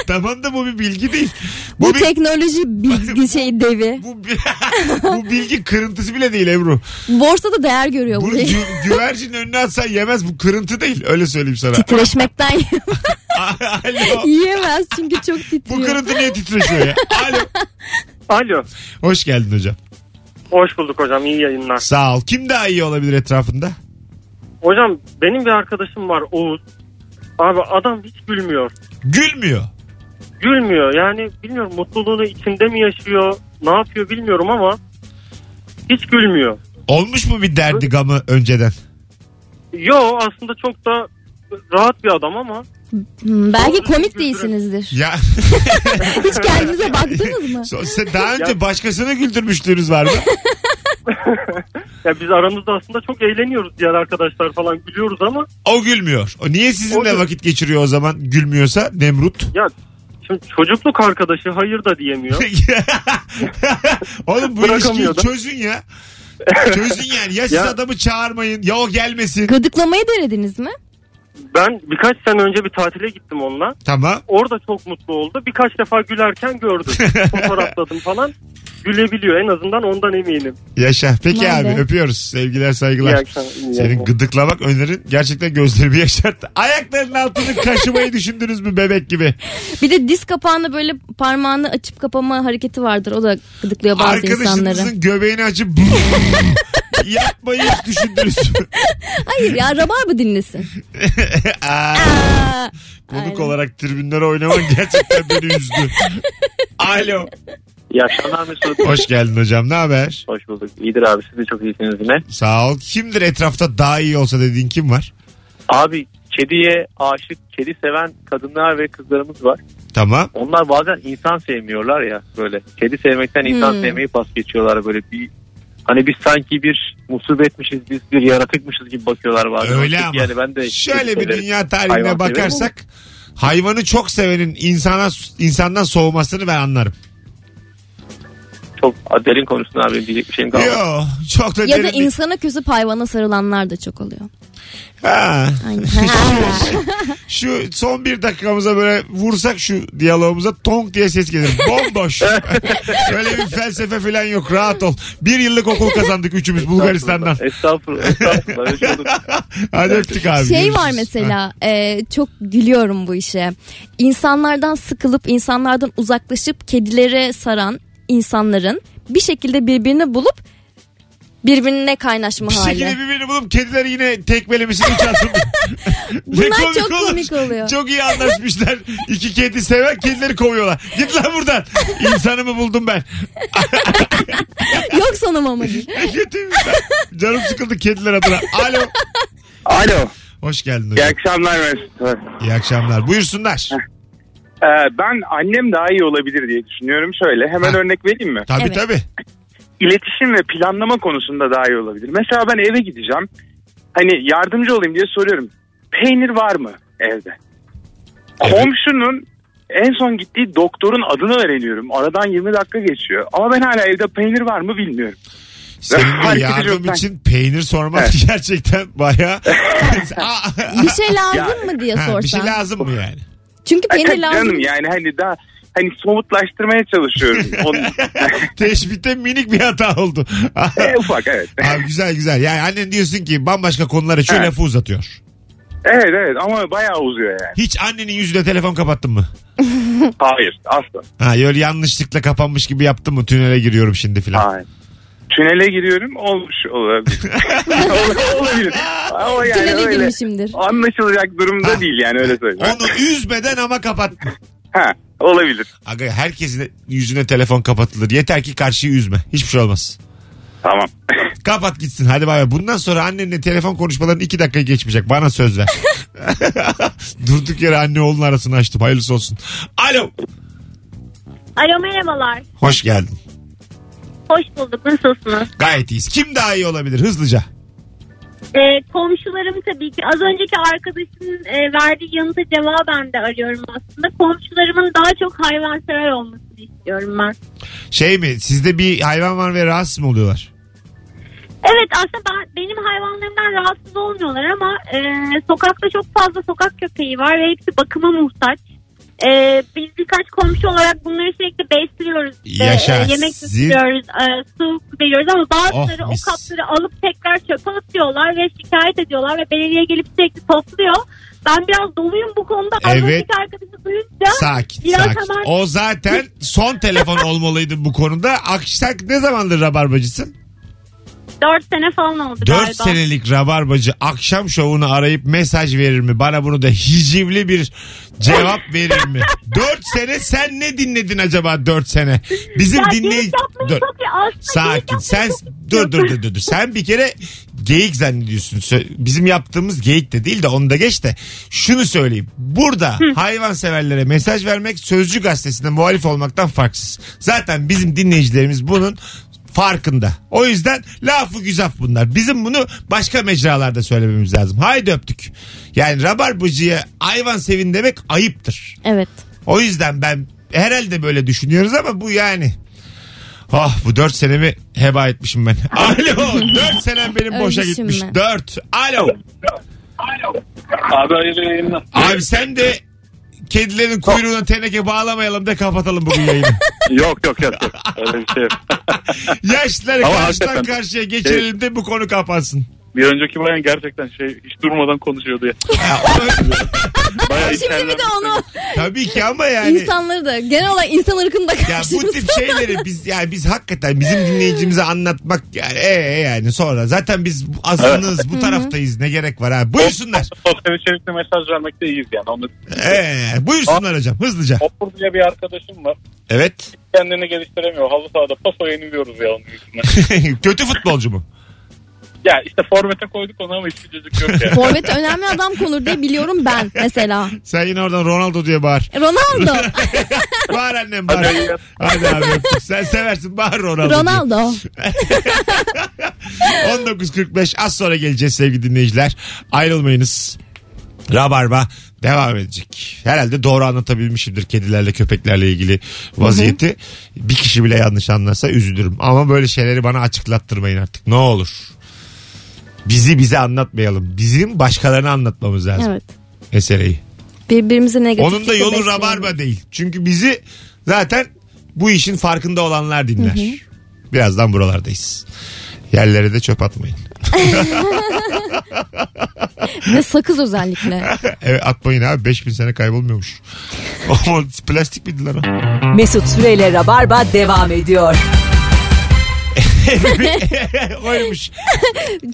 Speaker 2: tamam da bu bir bilgi değil.
Speaker 3: Bu,
Speaker 2: Bu, bir,
Speaker 3: teknoloji bilgi şey devi.
Speaker 2: bu, bi- bu bilgi kırıntısı bile değil Ebru.
Speaker 3: Borsada değer görüyor bu.
Speaker 2: Bunu gü- güvercinin önüne atsan yemez. Bu kırıntı değil. Öyle söyleyeyim sana.
Speaker 3: Titreşmekten
Speaker 2: Alo.
Speaker 3: yiyemez çünkü çok
Speaker 2: Bu
Speaker 3: titriyor.
Speaker 2: kırıntı niye titreşiyor ya? Alo.
Speaker 7: Alo.
Speaker 2: Hoş geldin hocam.
Speaker 7: Hoş bulduk hocam iyi yayınlar.
Speaker 2: Sağ ol. Kim daha iyi olabilir etrafında?
Speaker 7: Hocam benim bir arkadaşım var Oğuz. Abi adam hiç gülmüyor.
Speaker 2: Gülmüyor.
Speaker 7: Gülmüyor yani bilmiyorum mutluluğunu içinde mi yaşıyor ne yapıyor bilmiyorum ama hiç gülmüyor.
Speaker 2: Olmuş mu bir derdi gamı önceden?
Speaker 7: Yo aslında çok da rahat bir adam ama
Speaker 3: Hmm, belki
Speaker 7: Doğru düzgün
Speaker 3: komik
Speaker 7: güldürün.
Speaker 3: değilsinizdir.
Speaker 2: Ya
Speaker 3: Hiç kendinize baktınız mı?
Speaker 2: so- sen daha önce başkasını güldürmüşlüğünüz var mı?
Speaker 7: ya biz aramızda aslında çok eğleniyoruz diğer arkadaşlar falan gülüyoruz ama
Speaker 2: O gülmüyor. O niye sizinle
Speaker 7: O-
Speaker 2: vakit geçiriyor o zaman gülmüyorsa Nemrut?
Speaker 7: ya şimdi çocukluk arkadaşı hayır da diyemiyor.
Speaker 2: Oğlum bu ilişkiyi
Speaker 7: Bırakamıyor da.
Speaker 2: çözün ya. Çözün yani. Ya siz
Speaker 7: Ya-
Speaker 2: adamı çağırmayın ya o gelmesin.
Speaker 3: Gıdıklamayı denediniz mi?
Speaker 7: ben birkaç sene önce bir tatile gittim onunla.
Speaker 2: Tamam.
Speaker 7: Orada çok mutlu oldu. Birkaç defa gülerken gördüm. Fotoğrafladım falan. Gülebiliyor en azından ondan eminim.
Speaker 2: Yaşa. Peki
Speaker 3: Vay
Speaker 2: abi
Speaker 3: be.
Speaker 2: öpüyoruz. Sevgiler saygılar.
Speaker 7: İyi akşamlar. iyi
Speaker 2: Senin
Speaker 7: akşamlar.
Speaker 2: gıdıklamak önerin gerçekten gözlerimi yaşarttı. Ayaklarının altını kaşımayı düşündünüz mü bebek gibi?
Speaker 3: Bir de diz kapağında böyle parmağını açıp kapama hareketi vardır. O da gıdıklıyor bazı insanları.
Speaker 2: Arkadaşınızın göbeğini açıp yapmayı hiç düşündünüz mü?
Speaker 3: Hayır ya rabar mı dinlesin?
Speaker 2: Aa,
Speaker 3: Aa,
Speaker 2: konuk
Speaker 3: Aynen.
Speaker 2: olarak tribünlere oynaman gerçekten beni üzdü. Alo.
Speaker 8: İyi akşamlar Mesut.
Speaker 2: Hoş geldin hocam. Ne haber?
Speaker 8: Hoş bulduk. İyidir abi siz de çok iyisiniz yine.
Speaker 2: Sağ ol. Kimdir etrafta daha iyi olsa dediğin kim var?
Speaker 8: Abi kediye aşık, kedi seven kadınlar ve kızlarımız var.
Speaker 2: Tamam.
Speaker 8: Onlar bazen insan sevmiyorlar ya böyle. Kedi sevmekten insan
Speaker 3: Hmm.
Speaker 8: sevmeyi pas geçiyorlar böyle bir Hani biz sanki bir musibetmişiz, biz bir yaratıkmışız gibi bakıyorlar bazen.
Speaker 2: Öyle
Speaker 8: Artık
Speaker 2: ama.
Speaker 8: Yani ben de
Speaker 2: Şöyle bir
Speaker 8: severim.
Speaker 2: dünya tarihine
Speaker 8: Hayvan severim
Speaker 2: bakarsak hayvanı çok sevenin insana insandan soğumasını ben anlarım.
Speaker 8: Çok derin konusunda abi diyecek bir şeyim kalmadı.
Speaker 2: Yo, çok da
Speaker 3: ya
Speaker 2: derin
Speaker 3: da
Speaker 2: değil.
Speaker 3: insana küsüp hayvana sarılanlar da çok oluyor.
Speaker 2: Ha.
Speaker 3: Aynen.
Speaker 2: Şu son bir dakikamıza böyle vursak şu diyalogumuza tonk diye ses gelir. Bomboş. Öyle bir felsefe falan yok. Rahat ol. Bir yıllık okul kazandık üçümüz Bulgaristan'dan.
Speaker 8: Estağfurullah. Estağfurullah. Öyle şey olur.
Speaker 2: Hadi öptük abi.
Speaker 3: Şey var
Speaker 2: görüşürüz. Ha.
Speaker 3: mesela e, çok gülüyorum bu işe. İnsanlardan sıkılıp insanlardan uzaklaşıp kedilere saran insanların bir şekilde birbirini bulup birbirine kaynaşma
Speaker 2: Bir
Speaker 3: hali.
Speaker 2: şekilde birbirini bulup kediler yine tekmelemişini hiç hatırlamıyorum. Ne
Speaker 3: Bunlar çok
Speaker 2: olur.
Speaker 3: komik oluyor.
Speaker 2: Çok iyi anlaşmışlar. İki kedi seven kedileri kovuyorlar. Git lan buradan. İnsanı mı buldum ben?
Speaker 3: Yok sanım ama değil.
Speaker 2: Kötüymüş lan. Canım sıkıldı kediler adına. Alo.
Speaker 9: Alo.
Speaker 2: Hoş geldin.
Speaker 9: İyi
Speaker 2: hocam.
Speaker 9: akşamlar Mesut.
Speaker 2: İyi akşamlar. Buyursunlar.
Speaker 9: Ee, ben annem daha iyi olabilir diye düşünüyorum. Şöyle hemen
Speaker 2: Ha.
Speaker 9: örnek vereyim mi?
Speaker 2: Tabii
Speaker 3: Evet.
Speaker 2: tabii.
Speaker 9: İletişim ve planlama konusunda daha iyi olabilir. Mesela ben eve gideceğim. Hani yardımcı olayım diye soruyorum. Peynir var mı evde? Komşunun en son gittiği doktorun adını öğreniyorum. Aradan 20 dakika geçiyor. Ama ben hala evde peynir var mı bilmiyorum.
Speaker 2: Senin de
Speaker 9: Hareketi
Speaker 2: yardım
Speaker 9: yok ben.
Speaker 2: için peynir sormak
Speaker 9: Evet.
Speaker 2: gerçekten baya... Aa,
Speaker 3: Bir şey lazım mı diye
Speaker 2: ha,
Speaker 3: sorsan.
Speaker 2: bir şey lazım mı yani?
Speaker 3: Çünkü peynir
Speaker 9: Peynir
Speaker 3: lazım.
Speaker 9: Canım yani hani daha hani somutlaştırmaya çalışıyorum. Onun,
Speaker 2: Teşbitte minik bir hata oldu.
Speaker 9: E, ufak evet.
Speaker 2: Abi güzel güzel. Yani annen diyorsun ki bambaşka konulara şu
Speaker 9: Evet.
Speaker 2: lafı uzatıyor.
Speaker 9: Evet evet ama bayağı uzuyor yani.
Speaker 2: Hiç annenin yüzüne telefon kapattın mı?
Speaker 9: Hayır asla.
Speaker 2: Ha öyle yanlışlıkla kapanmış gibi yaptın mı? Tünele giriyorum şimdi filan.
Speaker 9: Hayır. Tünele giriyorum olmuş olabilir. Ol- olabilir. Ama yani
Speaker 3: Tünele
Speaker 9: öyle
Speaker 3: girmişimdir.
Speaker 9: anlaşılacak durumda
Speaker 2: Ha.
Speaker 9: değil yani öyle söyleyeyim.
Speaker 2: Onu üzmeden ama kapattın.
Speaker 9: Ha, olabilir.
Speaker 2: Aga herkesin yüzüne telefon kapatılır. Yeter ki karşıyı üzme. Hiçbir şey olmaz.
Speaker 9: Tamam.
Speaker 2: Kapat gitsin hadi bay bay. Bundan sonra annenle telefon konuşmaların iki dakika geçmeyecek. Bana söz ver. Durduk yere anne oğlun arasını açtım. Hayırlısı olsun. Alo.
Speaker 10: Alo merhabalar.
Speaker 2: Hoş geldin.
Speaker 10: Hoş bulduk. Nasılsınız?
Speaker 2: Gayet iyiyiz. Kim daha iyi olabilir hızlıca?
Speaker 10: Ee, komşularım tabii ki az önceki arkadaşın e, verdiği yanıta cevaben de arıyorum aslında. Komşularımın daha çok hayvansever olmasını istiyorum ben.
Speaker 2: Şey mi sizde bir hayvan var ve rahatsız mı oluyorlar?
Speaker 10: Evet aslında ben, benim hayvanlarımdan rahatsız olmuyorlar ama e, sokakta çok fazla sokak köpeği var ve hepsi bakıma muhtaç. E, biz birkaç komşu olarak bunları sürekli besliyoruz. İşte,
Speaker 2: Yaşa.
Speaker 10: e, yemek
Speaker 2: Siz-
Speaker 10: götürüyoruz, e, su veriyoruz ama bazıları
Speaker 2: Oh, mis.
Speaker 10: o kapları alıp tekrar çöpe atıyorlar ve şikayet ediyorlar ve belediye gelip sürekli topluyor. Ben biraz doluyum bu konuda. Az
Speaker 2: Evet.
Speaker 10: önceki arkadaşı duyunca
Speaker 2: Sakin
Speaker 10: Ah, biraz
Speaker 2: sakin.
Speaker 10: hemen-
Speaker 2: O zaten son telefon olmalıydı bu konuda. Aksak ne zamandır rabarbacısın?
Speaker 10: 4 sene falan oldu
Speaker 2: 4
Speaker 10: galiba.
Speaker 2: senelik rabarbacı akşam şovunu arayıp mesaj verir mi? Bana bunu da hicivli bir cevap verir mi? 4 sene sen ne dinledin acaba 4 sene? Bizim
Speaker 10: Ya
Speaker 2: dinleyici...
Speaker 10: geyik yapmayı
Speaker 2: Dur.
Speaker 10: çok iyi. Aslında geyik
Speaker 2: Sakin.
Speaker 10: yapmayı
Speaker 2: Sen
Speaker 10: çok iyi.
Speaker 2: dur dur dur dur. dur. Sen bir kere geyik zannediyorsun. Sö- Bizim yaptığımız geyik de değil de onu da geç de şunu söyleyeyim. Burada hayvanseverlere mesaj vermek Sözcü gazetesinde muhalif olmaktan farksız. Zaten bizim dinleyicilerimiz bunun farkında. O yüzden lafı güzaf bunlar. Bizim bunu başka mecralarda söylememiz lazım. Haydi öptük. Yani rabarbacıya hayvan sevin demek ayıptır.
Speaker 3: Evet.
Speaker 2: O yüzden ben herhalde böyle düşünüyoruz ama bu yani. Ah bu dört senemi heba etmişim ben. Alo dört senem benim boşa
Speaker 3: Ölmüşüm
Speaker 2: gitmiş.
Speaker 3: ben.
Speaker 2: Dört. Alo.
Speaker 8: Abi hayırlı yayınlar.
Speaker 2: Abi sen de kedilerin kuyruğuna teneke bağlamayalım da kapatalım bugün yayını.
Speaker 8: yok yok yok. yok. Öyle bir şey yok.
Speaker 2: Yaşları
Speaker 8: Ama
Speaker 2: karşıdan
Speaker 8: hakikaten. şey-
Speaker 2: karşıya geçirelim de bu konu kapansın.
Speaker 8: bir önceki bayan gerçekten şey hiç durmadan konuşuyordu ya.
Speaker 2: Ya, o-
Speaker 8: Bayağı
Speaker 3: Şimdi bir de onu
Speaker 2: tabii ki ama yani.
Speaker 3: insanları da genel olarak insan ırkını da
Speaker 2: Ya
Speaker 3: karşımıza.
Speaker 2: bu tip şeyleri biz yani biz hakikaten bizim dinleyicimize anlatmak yani ee yani sonra zaten biz azınız bu taraftayız ne gerek var ha buyursunlar
Speaker 8: Sosyal içerikli mesaj vermekte iyiyiz yani. Onu...
Speaker 2: ee, buyursunlar hocam hızlıca
Speaker 8: Opur diye bir arkadaşım var.
Speaker 2: evet
Speaker 8: Kendini geliştiremiyor. Halı sahada paso yeniliyoruz ya onun yüzünden.
Speaker 2: kötü futbolcu mu
Speaker 8: ya işte forvete koyduk onu ama hiçbir cacık yok ya.
Speaker 3: Forvet'e önemli adam konur diye biliyorum ben mesela.
Speaker 2: sen yine oradan Ronaldo diye bağır
Speaker 3: Ronaldo.
Speaker 2: bağır annem bağır hadi abi öptük. sen seversin bağır Ronaldo, diye.
Speaker 3: Ronaldo.
Speaker 2: 19.45 az sonra geleceğiz sevgili dinleyiciler. Ayrılmayınız. Rabarba devam edecek. Herhalde doğru anlatabilmişimdir kedilerle köpeklerle ilgili vaziyeti. Bir kişi bile yanlış anlarsa üzülürüm. Ama böyle şeyleri bana açıklattırmayın artık ne olur. Bizi bize anlatmayalım. Bizim başkalarına anlatmamız lazım
Speaker 3: Evet.
Speaker 2: esereyi.
Speaker 3: Birbirimizi negatif.
Speaker 2: Onun da yolu rabarba değil. Çünkü bizi zaten bu işin farkında olanlar dinler. Birazdan buralardayız. Yerlere de çöp atmayın.
Speaker 3: Ve sakız özellikle.
Speaker 2: Evet atmayın abi 5000 sene kaybolmuyormuş. Ama plastik miydi lan o?
Speaker 1: Mesut Süreyle Rabarba devam ediyor.
Speaker 2: Oymuş.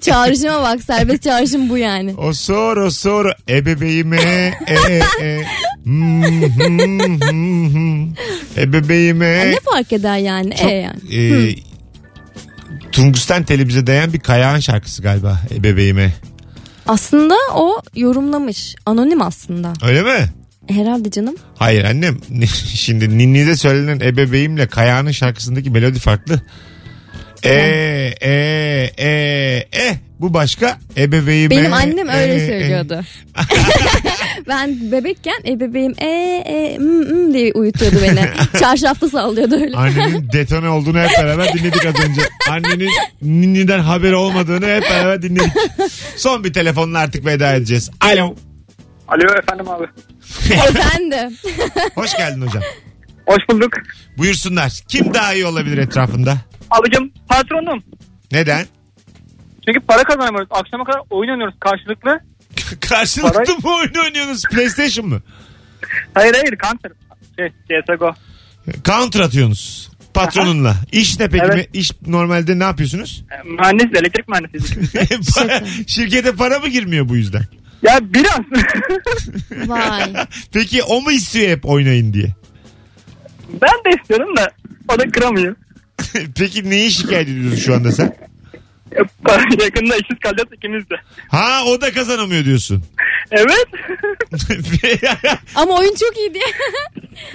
Speaker 3: Çağrışıma bak serbest çağrışım bu yani.
Speaker 2: O sor o sor ebebeğime e e. Hmm, hmm, hmm, hmm.
Speaker 3: Ya
Speaker 2: Ebebeğime.
Speaker 3: ne fark eder yani?
Speaker 2: Çok,
Speaker 3: E yani.
Speaker 2: e, Tungusten telimize değen bir Kayağan şarkısı galiba ebebeğime.
Speaker 3: Aslında o yorumlamış. Anonim aslında. E,
Speaker 2: Öyle mi?
Speaker 3: Herhalde canım.
Speaker 2: Hayır annem şimdi ninnize söylenen ebebeğimle Kayağan'ın şarkısındaki melodi farklı. E e e e bu başka ebeveğime.
Speaker 3: Benim annem öyle
Speaker 2: e, e.
Speaker 3: söylüyordu. ben bebekken ebebeğim e e mm, mm diye uyutuyordu beni. Çarşafta sallıyordu öyle.
Speaker 2: Annenin detone olduğunu hep beraber dinledik az önce. Annenin ninniden haberi olmadığını hep beraber dinledik. Son bir telefonla artık veda edeceğiz. Alo.
Speaker 9: Alo efendim abi.
Speaker 3: Efendim.
Speaker 2: Hoş geldin hocam.
Speaker 4: Hoş bulduk.
Speaker 2: Buyursunlar. Kim daha iyi olabilir etrafında?
Speaker 4: Abicim patronum.
Speaker 2: Neden?
Speaker 4: Çünkü para kazanamıyoruz. Akşama kadar oyun oynuyoruz karşılıklı.
Speaker 2: Karşılıklı mı oyun oynuyorsunuz? PlayStation mı?
Speaker 7: Hayır hayır counter. Şey, CSGO.
Speaker 2: Counter atıyorsunuz patronunla. İş ne peki?
Speaker 7: Evet.
Speaker 2: İş normalde ne yapıyorsunuz?
Speaker 7: Mühendis, elektrik mühendisi.
Speaker 2: Para- şirkete para mı girmiyor bu yüzden?
Speaker 7: ya biraz.
Speaker 3: Vay.
Speaker 2: Peki o mu istiyor hep oynayın diye?
Speaker 7: ben de istiyorum da o da kıramıyor.
Speaker 2: Peki neyi şikayet ediyorsun şu anda sen?
Speaker 7: Yakında işsiz kalacağız ikimiz de.
Speaker 2: Ha o da kazanamıyor diyorsun.
Speaker 7: Evet.
Speaker 3: Ama oyun çok iyiydi.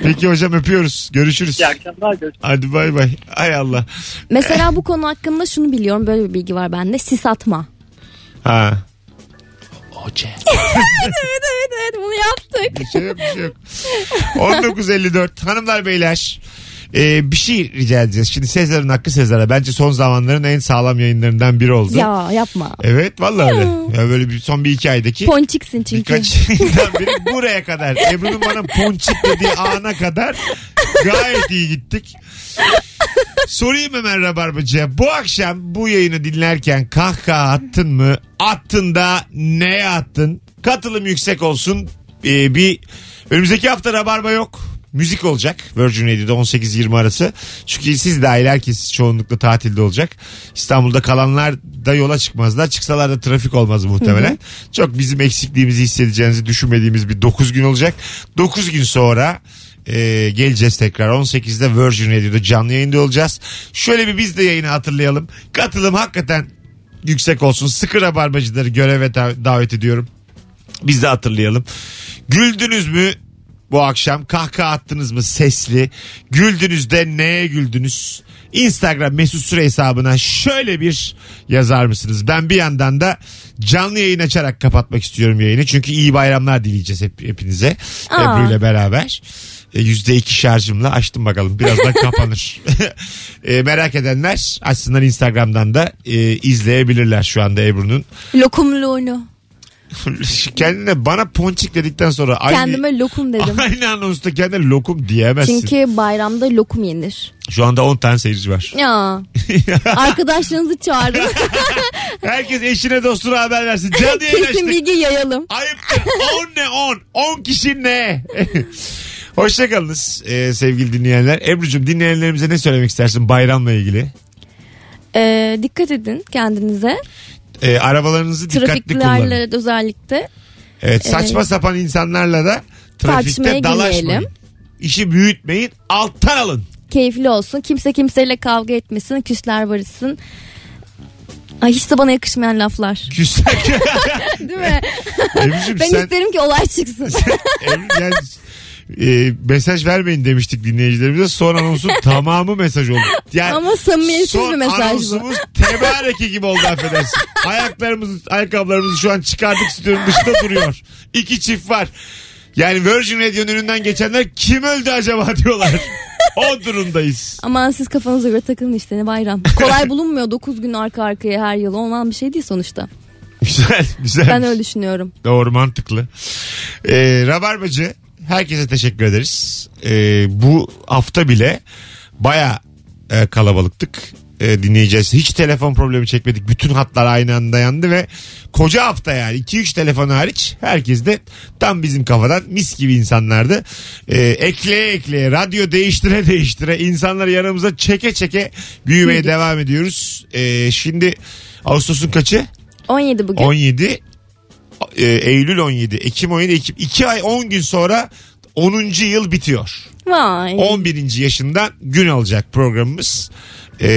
Speaker 2: Peki hocam öpüyoruz. Görüşürüz.
Speaker 7: İyi akşamlar görüşürüz.
Speaker 2: Hadi bay bay. Ay Allah.
Speaker 3: Mesela bu konu hakkında şunu biliyorum. Böyle bir bilgi var bende. Sis atma.
Speaker 2: Ha.
Speaker 3: evet evet evet bunu yaptık.
Speaker 2: Bir şey yok bir şey yok. 1954 hanımlar beyler. e, bir şey rica edeceğiz. Şimdi Sezar'ın hakkı Sezar'a. Bence son zamanların en sağlam yayınlarından biri oldu.
Speaker 3: Ya yapma.
Speaker 2: Evet vallahi öyle. Ya böyle bir, son bir iki aydaki.
Speaker 3: Ponçiksin çünkü.
Speaker 2: Birkaç yıldan beri buraya kadar. Ebru'nun bana ponçik dediği ana kadar gayet iyi gittik. Sorayım hemen Rabarbacı'ya. Bu akşam bu yayını dinlerken kahkaha attın mı? Attın da neye attın? Katılım yüksek olsun. Ee, bir önümüzdeki hafta Rabarba yok. Müzik olacak Virgin Radio'da 18-20 arası. Çünkü siz dahil herkes çoğunlukla tatilde olacak. İstanbul'da kalanlar da yola çıkmazlar. Çıksalar da trafik olmaz muhtemelen. Çok bizim eksikliğimizi hissedeceğinizi düşünmediğimiz bir 9 gün olacak. 9 gün sonra ee, geleceğiz tekrar 18'de Virgin Radio'da canlı yayında olacağız. Şöyle bir biz de yayını hatırlayalım. Katılım hakikaten yüksek olsun. Sıkı rabarbacıları göreve da- davet ediyorum. Biz de hatırlayalım. Güldünüz mü bu akşam? Kahkaha attınız mı sesli? Güldünüz de neye güldünüz? Instagram mesut süre hesabına şöyle bir yazar mısınız? Ben bir yandan da canlı yayın açarak kapatmak istiyorum yayını. Çünkü iyi bayramlar dileyeceğiz hep, hepinize.
Speaker 3: Aa.
Speaker 2: Ebru ile beraber. E, %2 şarjımla açtım bakalım. Birazdan kapanır. E, merak edenler açsınlar Instagram'dan da e, izleyebilirler şu anda Ebru'nun.
Speaker 3: Lokumluğunu.
Speaker 2: Kendine bana ponçik dedikten sonra aynı,
Speaker 3: Kendime lokum dedim.
Speaker 2: aynı anonsta kendine lokum diyemezsin.
Speaker 3: Çünkü bayramda lokum yenir.
Speaker 2: Şu anda 10 tane seyirci var.
Speaker 3: Ya. Arkadaşlarınızı çağırın.
Speaker 2: Herkes eşine dostuna haber versin. Canlı yayın
Speaker 3: Kesin
Speaker 2: açtık.
Speaker 3: bilgi yayalım.
Speaker 2: Ayıptır. 10 ne 10? 10 kişi ne? Hoşçakalınız ee, sevgili dinleyenler. Ebru'cum dinleyenlerimize ne söylemek istersin bayramla ilgili?
Speaker 3: Ee, dikkat edin kendinize.
Speaker 2: Ee, arabalarınızı dikkatli kullanın.
Speaker 3: Trafiklerle özellikle.
Speaker 2: Evet, saçma sapan insanlarla da trafikte
Speaker 3: Tartışmaya
Speaker 2: dalaşmayın.
Speaker 3: girmeyelim.
Speaker 2: İşi büyütmeyin. Alttan alın.
Speaker 3: Keyifli olsun. Kimse kimseyle kavga etmesin. Küsler barışsın. Ay hiç de bana yakışmayan laflar.
Speaker 2: Küsler.
Speaker 3: Değil mi?
Speaker 2: Ebru'cum
Speaker 3: ben
Speaker 2: sen...
Speaker 3: isterim ki olay çıksın.
Speaker 2: Ebru, yani, e, mesaj vermeyin demiştik dinleyicilerimize. Son anonsun tamamı mesaj oldu. Yani
Speaker 3: Ama samimiyetsiz
Speaker 2: son
Speaker 3: bir mesaj bu.
Speaker 2: anonsumuz tebareki gibi oldu affedersin. Ayaklarımızı, ayakkabılarımızı şu an çıkardık stüdyonun dışında duruyor. İki çift var. Yani Virgin Radio'nun önünden geçenler kim öldü acaba diyorlar. O durumdayız.
Speaker 3: Aman siz kafanıza göre takılın işte ne bayram. Kolay bulunmuyor 9 gün arka arkaya her yıl. Olan bir şey değil sonuçta.
Speaker 2: Güzel, güzel.
Speaker 3: Ben öyle düşünüyorum.
Speaker 2: Doğru mantıklı. Ee, Rabarbacı herkese teşekkür ederiz. Ee, bu hafta bile baya e, kalabalıktık. E, dinleyeceğiz. Hiç telefon problemi çekmedik. Bütün hatlar aynı anda yandı ve koca hafta yani 2-3 telefon hariç herkes de tam bizim kafadan mis gibi insanlardı. E, ekleye ekleye radyo değiştire değiştire insanları yanımıza çeke çeke büyümeye devam ediyoruz. E, şimdi Ağustos'un kaçı?
Speaker 3: 17 bugün.
Speaker 2: 17 e, Eylül 17 Ekim 17 Ekim 2 ay 10 gün sonra 10. yıl bitiyor.
Speaker 3: Vay.
Speaker 2: 11. yaşından gün alacak programımız. E,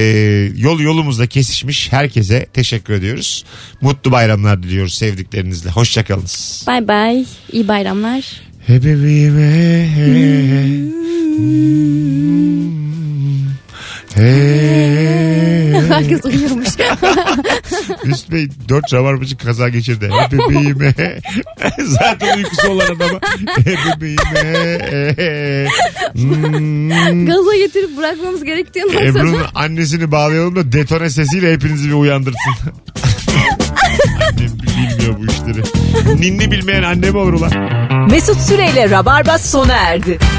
Speaker 2: yol yolumuzda kesişmiş herkese teşekkür ediyoruz. Mutlu bayramlar diliyoruz sevdiklerinizle. Hoşçakalınız.
Speaker 3: Bay bay. İyi bayramlar.
Speaker 2: He bebeğime he. Hmm. He.
Speaker 3: Herkes uyuyormuş.
Speaker 2: Üst Bey 4 rabarbacı kaza geçirdi. E bebeğime. Zaten uykusu olan adama. E bebeğime. E. Hmm.
Speaker 3: Gaza getirip bırakmamız gerektiğini
Speaker 2: Ebru'nun annesini bağlayalım da detone sesiyle hepinizi bir uyandırsın. Annem bilmiyor bu işleri. Ninni bilmeyen annem olur ulan.
Speaker 1: Mesut Süreyle Rabarba sona erdi.